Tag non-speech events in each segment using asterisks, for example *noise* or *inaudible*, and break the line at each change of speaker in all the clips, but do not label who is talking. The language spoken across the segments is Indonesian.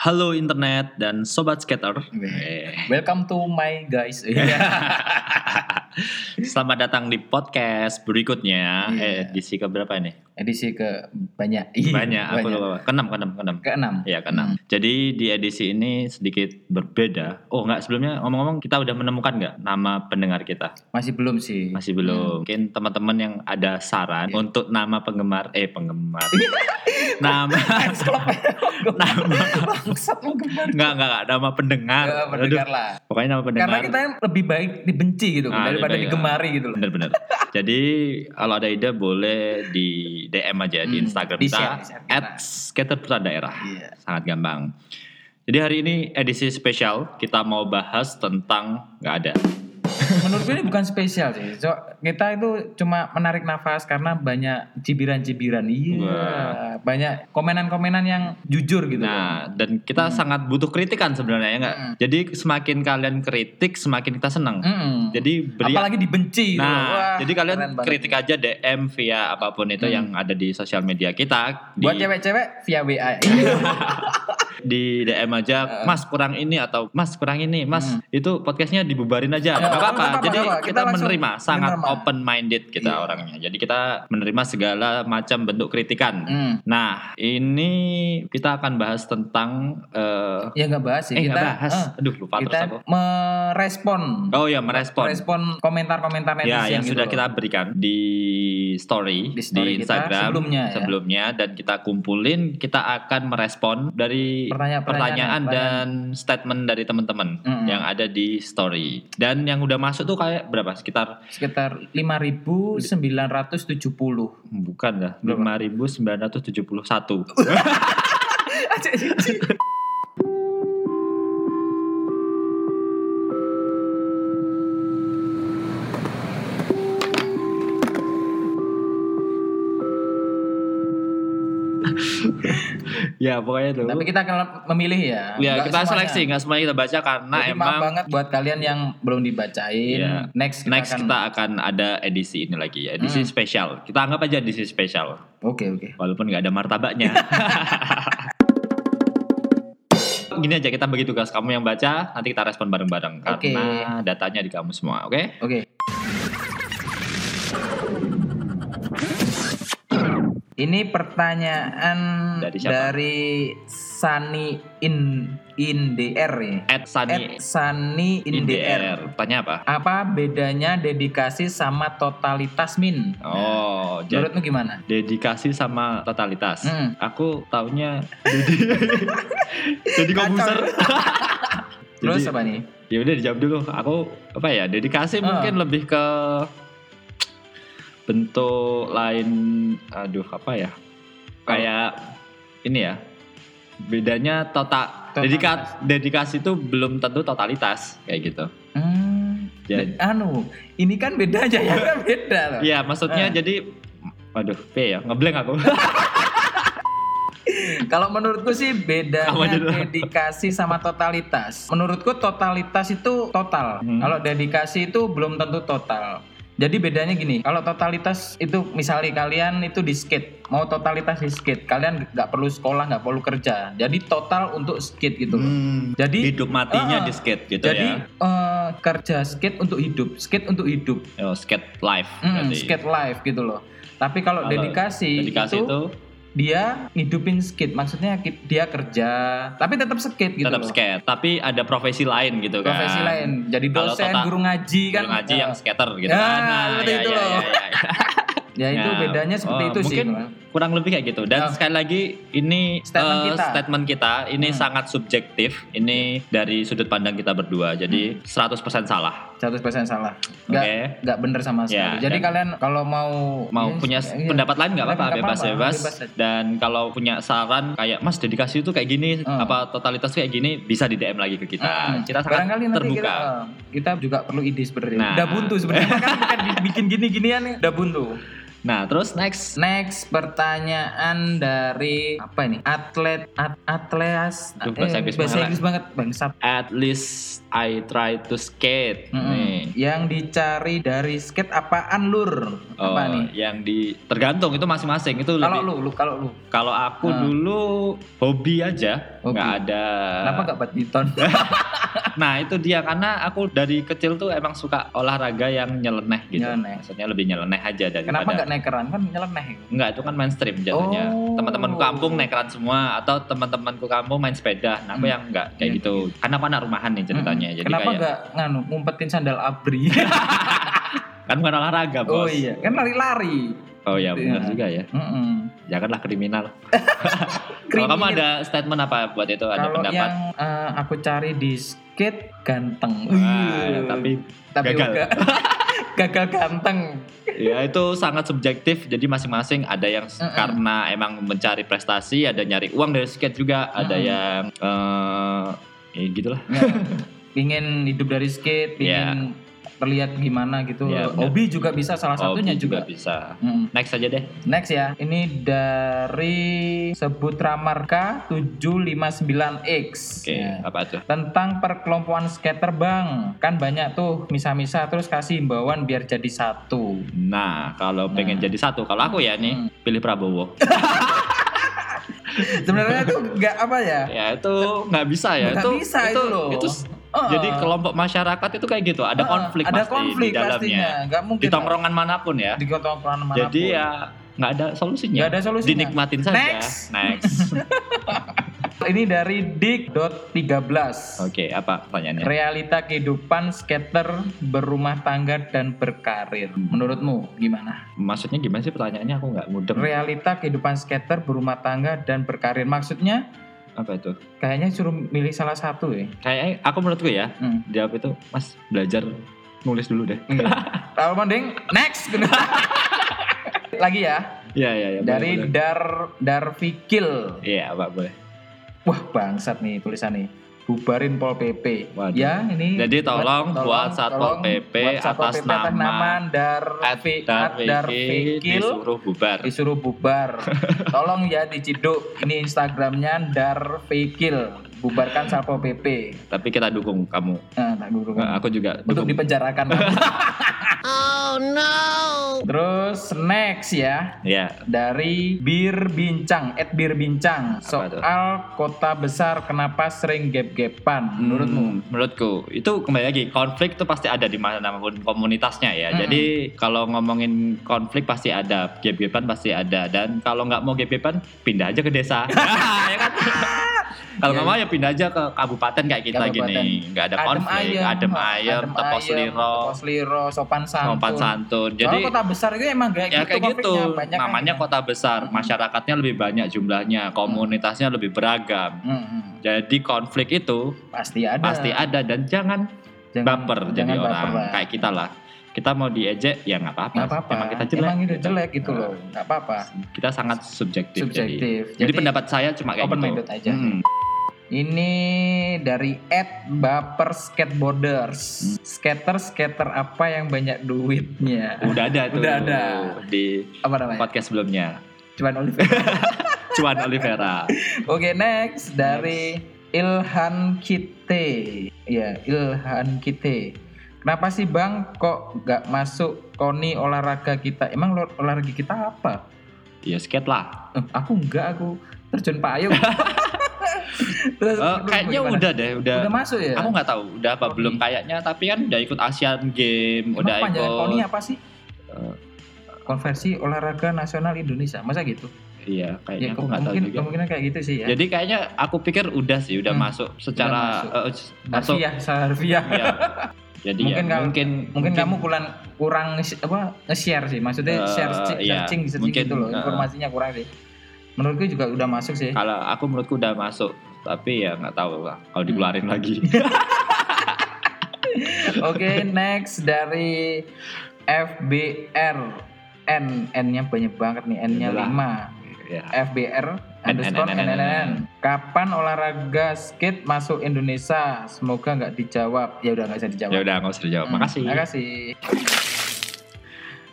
Halo internet dan sobat skater. Eh,
Weh. Welcome to my
*laughs*
guys. Iya.
Selamat datang di podcast berikutnya.
Iya.
Eh, edisi keberapa ini?
Edisi ke banyak. Hmm.
Banyak. Aku lupa. Keenam, keenam, keenam.
Keenam.
Ya, keenam. Jadi di edisi ini sedikit berbeda. Oh, nggak sebelumnya ngomong-ngomong kita udah menemukan nggak nama pendengar kita?
Masih belum sih.
Masih
*laughs*
belum. Mungkin teman-teman yang ada saran
Hmm. Iya.
untuk nama penggemar eh penggemar. *laughs* nama *laughs* nama
Bangsat lu kemarin.
Enggak, enggak, enggak, nama pendengar.
Ya,
nah. Aduh,
Pendengar lah.
pokoknya nama pendengar.
Karena kita yang lebih baik dibenci gitu
Ah, lebih
daripada
baik,
digemari gitu loh.
Bener-bener. Jadi kalau ada ide boleh di DM aja di
Hmm,
Instagram
di
kita
share, di share kita.
at @skaterputra daerah.
Iya.
Sangat gampang. Jadi hari ini edisi spesial kita mau bahas tentang nggak ada.
Menurut gue ini bukan spesial sih. So, kita itu cuma menarik nafas karena banyak cibiran-cibiran. Iya.
Wah.
Banyak komenan-komenan yang jujur gitu.
Nah, dan kita sangat butuh kritikan sebenarnya ya nggak.
Hmm.
Jadi semakin kalian kritik, semakin kita senang.
Mm-mm.
Jadi beri
apalagi dibenci gitu loh. Wah,
Nah, jadi kalian
keren banget.
kritik aja DM via apapun itu
Hmm.
yang ada di sosial media kita di
buat cewek-cewek via
*laughs*
WA.
di DM aja, Mas kurang ini atau Mas kurang ini, Mas
Hmm.
itu podcastnya dibubarin aja,
Ya,
nggak apa-apa.
nggak apa-apa,
Jadi
nggak apa-apa.
kita,
Kita langsung
menerima, sangat
menerima.
open minded kita
Iya.
orangnya. Jadi kita menerima segala macam bentuk kritikan.
Hmm.
Nah, ini kita akan bahas tentang eh,
Ya nggak bahas sih
eh
kita.
nggak bahas,
eh,
aduh lupa
kita
terus aku.
merespon.
Oh ya merespon.
Merespon komentar-komentar netizen
Ya, yang
gitu
sudah
loh.
kita berikan di story di,
Di story kita
Instagram
sebelumnya ya.
sebelumnya, dan kita kumpulin, kita akan merespon dari
Pertanyaan-
pertanyaan,
pertanyaan-
dan statement dari teman-teman
Mm-mm.
yang ada di story. Dan yang udah masuk tuh kayak berapa? Sekitar
sekitar 5.970.
bukan lah,
Berapa? Uh.
5971. ya, pokoknya tuh.
Tapi kita akan memilih ya.
Ya,
Nggak
kita
semuanya.
seleksi, nggak semuanya kita baca karena
Jadi
emang
maaf banget buat kalian yang belum dibacain.
Iya.
Next kita
next
akan-
kita akan ada edisi ini lagi, edisi spesial. Kita anggap aja edisi spesial,
Oke, oke.
walaupun nggak ada
*laughs*
martabaknya. Gini aja kita bagi tugas kamu yang baca, nanti kita respon bareng-bareng
Oke.
karena datanya di kamu semua, oke?
Oke. Ini pertanyaan
Dari
dari,
siapa?
Sani in indr ya.
At Sunny
At Sani indr.
IDR. Tanya apa?
Apa bedanya dedikasi sama totalitas min?
Oh, jadi
Menurutmu gimana?
dedikasi sama totalitas.
Nah. Hmm.
Aku taunya jadi
*laughs*
jadi komputer.
Terus apa nih?
ya udah dijawab dulu aku apa ya dedikasi
Ah.
mungkin lebih ke bentuk lain aduh apa ya kayak ini ya bedanya total
Totalitas.
dedika, dedikasi itu belum tentu totalitas kayak gitu
Hmm,
jadi
anu, ini kan beda aja ya *laughs* kan beda loh.
ya maksudnya
Ah.
jadi aduh p ya ngeblank *laughs* aku
Kalau menurutku sih bedanya
Apa dulu?
dedikasi sama totalitas. Menurutku totalitas itu total.
Hmm.
Kalau dedikasi itu belum tentu total. Jadi bedanya gini, kalau totalitas itu misalnya kalian itu di skate, mau totalitas di skate, kalian nggak perlu sekolah, nggak perlu kerja. Jadi total untuk skate gitu. loh. Jadi
Hmm. hidup matinya
Ah.
di skate gitu
jadi eh, kerja skate untuk hidup, skate untuk hidup,
ya oh, skate life
Hmm,
berarti.
skate life gitu loh. Tapi kalau
Kalau
dedikasi,
dedikasi
itu,
itu,
dia ngidupin skate, maksudnya ki- dia kerja, tapi tetap skate gitu
tetap
loh.
skate tapi ada profesi lain gitu kan
profesi lain jadi
Kalau
dosen
total-
guru ngaji kan
Guru ngaji
eh,
yang skater gitu
Ya,
kan.
seperti itu loh. ya itu
Ya.
bedanya seperti
Oh,
itu
mungkin
sih
kurang lebih kayak gitu. Dan
Ya.
sekali lagi ini
Statement
eh,
kita.
statement kita ini
Hmm.
sangat subjektif. Ini dari sudut pandang kita berdua. Jadi 100% salah.
100% salah
Oke.
Hmm. nggak nggak bener sama
Ya,
sekali jadi
dan-
kalian kalau mau
Mau
ya,
punya
ya, iya.
pendapat lain nggak apa-apa,
Nggak apa-apa,
bebas-bebas.
bebas aja.
Dan kalau punya saran kayak Mas dedikasi itu kayak gini,
Hmm.
apa totalitas kayak gini, bisa di DM lagi ke kita.
Mm-mm.
Kita sangat
Ah, barangkali nanti
ah, terbuka.
kita, eh, kita juga perlu ide sebenarnya
Nah.
udah buntu sebenarnya kan kan bikin gini-ginian nih udah buntu
Nah, terus next
next pertanyaan dari apa ini atlet at, atleas Eh,
Aduh, bahasa Inggris
bahasa
banget.
Inggris banget bangsat
At least I try to skate.
Mm-mm.
Nih.
Yang dicari dari skate apaan lur?
Oh,
Apa nih?
yang di tergantung itu masing-masing itu
Kalau
lebih-
lu, lu kalau lu,
Kalau aku
Ah.
dulu hobi aja,
Hobi.
nggak ada. Gitu.
kenapa gak badminton? *laughs*
Nah itu dia karena aku dari kecil tuh emang suka olahraga yang nyeleneh gitu.
Nyeleneh.
Maksudnya lebih nyeleneh aja daripada.
ya? kenapa gak nekeran? Kan nyeleneh. itu.
Enggak itu kan mainstream jatuhnya.
Oh.
Teman-teman kampung nekeran semua atau teman-temanku kampung main sepeda. Nah aku
Hmm.
yang enggak kayak
Iya,
gitu. Karena aku anak rumahan nih ceritanya.
Mm-mm.
Jadi
kenapa
kayak
gak nganu ngumpetin sandal abri?
*laughs* kan bukan olahraga bos.
oh iya, kan lari-lari.
Oh iya benar
Iya.
juga ya.
Mm-mm.
Janganlah kriminal. Kalau kamu
Kriminal.
ada statement apa buat itu? Ada
Kalau
pendapat?
yang eh, aku cari di skate ganteng.
Wah,
Wih.
tapi
Tapi
gagal.
uga- *laughs* gagal ganteng.
Ya itu sangat subjektif. Jadi masing-masing ada yang s-
Mm-mm.
karena emang mencari prestasi, ada nyari uang dari skate juga, ada
Mm-mm.
yang eh ya gitulah.
Ya. Pingin hidup dari skate, pingin terlihat gimana gitu.
Ya, Iya. benar.
Hobi juga bisa salah satunya
Hobi
juga.
bisa.
Mm.
Next aja deh.
Next ya, ini dari Sebutra Marka 759X.
Oke,
Ya.
apa tuh?
Tentang perkelompokan skater bang, kan banyak tuh misa-misa terus kasih himbauan biar jadi satu.
Nah, kalau pengen
Nah. Hmm.
jadi satu, kalau aku ya nih pilih
*laughs*
Prabowo.
Sebenarnya tuh nggak apa ya?
ya itu nggak bisa ya.
Nggak
itu
bisa itu loh.
s-
Oh.
*laughs* jadi kelompok masyarakat itu kayak gitu, ada
Heeh,
konflik
eh, ada
pasti di
konflik
dalamnya.
pastinya. Nggak mungkin
Di tongkrongan manapun ya.
di tongkrongan manapun.
Jadi ya nggak ada solusinya.
Nggak ada solusinya.
Dinikmatin saja.
Next. *laughs*
Next.
ini dari dik.13.
Oke, apa pertanyaannya?
Realita kehidupan skater berumah tangga dan berkarir. Menurutmu gimana?
Maksudnya gimana sih pertanyaannya? Aku nggak mudeng.
Realita kehidupan skater berumah tangga dan berkarir maksudnya
Apa itu?
kayaknya suruh milih salah satu ya.
Kayaknya aku menurutku ya,
Hmm.
jawab itu Mas belajar nulis dulu deh.
*laughs* Kalau mending next. *laughs* Lagi ya
Iya, iya, iya. boleh,
dari
boleh.
Dar Darfikil.
Iya, Pak, boleh.
Wah bangsat nih tulisan nih. Bubarin Pol PP.
Waduh.
Ya ini.
Jadi tolong buat
tolong
Satpol PP
buat Satpol
atas
PP atas nama
nama
Dar
Advi-
Ad-
Darwiki
Darfikil
disuruh bubar.
disuruh
*laughs*
bubar. tolong ya diciduk. Ini Instagramnya Darfikil. Bubarkan Satpol PP.
Tapi kita dukung kamu.
Nah, tak dulu
Nggak, Aku juga
Untuk
dukung. *laughs*
dipenjarakan. oh no. Terus next ya
Iya.
dari bir bincang at bir
Apa
bincang
tuh?
soal kota besar kenapa sering gap-gapan
Hmm,
menurutmu
Menurutku itu kembali lagi konflik itu pasti ada di manapun komunitasnya ya.
Mm-mm.
Jadi kalau ngomongin konflik pasti ada, gebetan pasti ada dan kalau nggak mau gebetan pindah aja ke desa. *laughs* ya
*laughs*
kan? Kalau
Iya,
nggak mau ya pindah aja ke kabupaten kayak kita
Kabupaten.
gini, nggak ada konflik, adem ayem, tepos
ayem,
liro,
tepos liro, sopan santun.
sopan santun.
Jadi
Jadi
kota besar itu emang kayak
ya
gitu
kayak gitu,
konfliknya, banyak kan
namanya
gitu.
kota besar,
Mm-mm.
masyarakatnya lebih banyak jumlahnya, komunitasnya lebih beragam.
Mm-mm.
Jadi konflik itu
Hmm, Pasti ada.
pasti ada dan jangan
Iya. Jangan-
baper jadi
jangan
orang
baper lah.
kayak kita lah kita mau diejek ya nggak apa-apa
Nggak apa-apa.
emang kita jelek
Emang itu
gitu.
jelek gitu
Nah,
loh. Enggak apa-apa.
kita sangat subjektif, jadi
Subjektif.
jadi, pendapat saya cuma kayak
open
gitu
minded aja.
Hmm.
Ini dari Ed Baper
Hmm.
Skateboarders. Skater-skater apa yang banyak duitnya?
udah ada tuh
Udah ada.
di
Apa namanya?
podcast sebelumnya
Cuman Oliver.
*laughs* cuan Olivera
Oke next dari Ilhan Kite. Ya Ilhan Kite. Kenapa sih bang kok nggak masuk koni olahraga kita? Emang lo- olahraga kita apa?
ya skate lah
Eh, aku nggak aku
*laughs*
terjun payung. Terus,
Eh,
menurutmu
kayaknya
gimana?
udah deh udah,
udah masuk ya.
aku nggak tahu udah apa
Oke.
belum kayaknya tapi kan udah ikut Asian Game
Emang
udah ikut
panjangan koni apa sih?
Eh.
Konversi olahraga nasional Indonesia. Masa gitu?
iya kayaknya
Ya,
aku nggak tahu
kemungkinan,
juga
kemungkinan kayak gitu sih ya.
jadi kayaknya aku pikir udah sih udah
Hmm.
masuk secara
masuk.
eh, masuk
harfiah, secara
*laughs*
harfiah.
ya. Jadi
Mungkin
ya,
kalau-
mungkin
mungkin kamu kurang kurang nge- apa nge-share sih maksudnya
Eh,
share searching
iya,
searching, searching
mungkin,
gitu loh
eh.
informasinya kurang sih menurutku juga udah masuk
*laughs*
sih
kalau aku menurutku udah masuk tapi ya nggak tahu lah kalau dikeluarin
Hmm.
lagi *laughs*
oke next dari FBR N N nya banyak banget nih N nya
Yalah.
5
ya
FBR underscore
N, N, N, N, N, N.
NNN kapan olahraga skate masuk Indonesia semoga nggak dijawab ya udah nggak bisa dijawab
ya udah nggak usah dijawab
Hmm,
makasih
Makasih.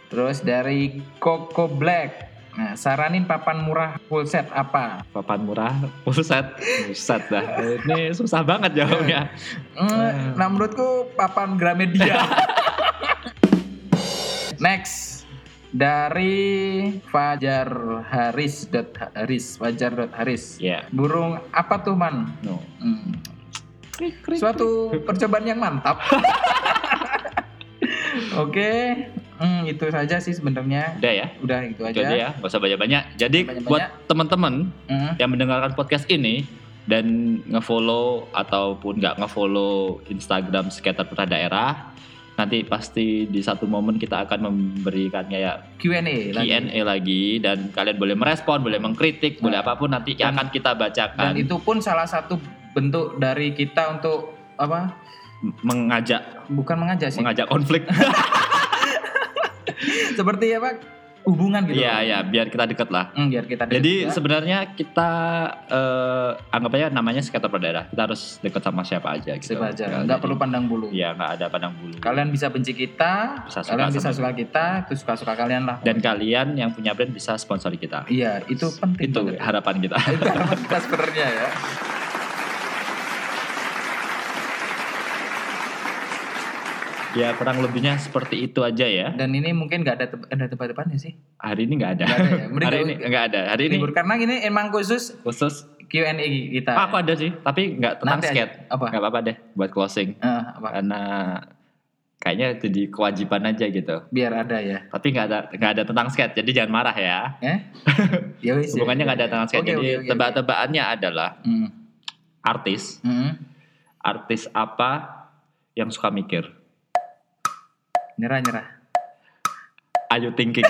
Terus dari Coco Black. Nah, saranin papan murah full set apa?
papan murah pusat pusat dah ini susah banget jawabnya
Hmm,
Hmm.
Nah, menurutku papan Gramedia. Next dari Fajar Haris dot Haris Fajar dot Haris.
Ya.
Burung apa tuh man?
No.
Hmm, Suatu percobaan yang mantap. *laughs* Oke, hmm, itu saja sih sebenarnya.
Udah ya.
Udah itu
Itu aja
aja.
ya, gak usah banyak-banyak. Jadi
Banyak-banyak.
buat teman-teman
Hmm,
yang mendengarkan podcast ini dan ngefollow ataupun nggak ngefollow Instagram sekitar peta daerah, nanti pasti di satu momen kita akan memberikan ya, kayak
Q&A lagi.
Q&A lagi dan kalian boleh merespon, boleh mengkritik, boleh apapun nanti
Nah. Dan-
akan kita
Dan
bacakan
itu pun salah satu bentuk dari kita untuk apa?
mengajak
Bukan mengajak sih.
mengajak konflik.
Seperti apa? Hubungan *laughs* gitu.
Iya, ya, biar kita deket lah.
Hmm, biar kita dekat
Jadi
juga.
sebenarnya kita eh, anggap aja namanya sekitar peta daerah. Kita harus deket sama siapa aja gitu.
Siapa aja.
Ya,
Nggak
jadi-
perlu pandang bulu.
Iya, nggak ada pandang bulu.
Kalian bisa benci kita,
Bisa suka
kalian bisa
sama-
suka kita, itu suka-suka kalian lah.
Dan kalian yang punya brand bisa sponsori kita.
iya, itu penting.
Itu iya.
banget.
harapan kita. *laughs*
itu harapan *laughs* kita sebenarnya ya.
ya kurang lebihnya seperti itu aja ya.
Dan ini mungkin nggak ada teb- ada tebak-tebakannya sih.
Hari ini nggak ada.
Nggak ada ya.
*laughs*
Mending
Hari
nggak-
ini nggak ada. Hari ini
Libur karena ini emang khusus
khusus.
Q&A kita.
Ah, aku ada sih, tapi nggak tentang
Nah. Nanti aja.
skate.
Apa?
Nggak apa-apa deh buat closing.
Eh, apa?
Karena kayaknya jadi kewajiban aja gitu.
Biar ada ya.
Tapi nggak ada nggak ada tentang skate, jadi jangan marah ya. *laughs*
Ya wis. ya.
Hubungannya nggak ada tentang skate.
Oke,
jadi
oke, oke, oke.
tebak-tebakannya adalah
Hmm.
artis,
Hmm.
artis apa yang suka mikir.
Nyerah nyerah.
Ayo thinking.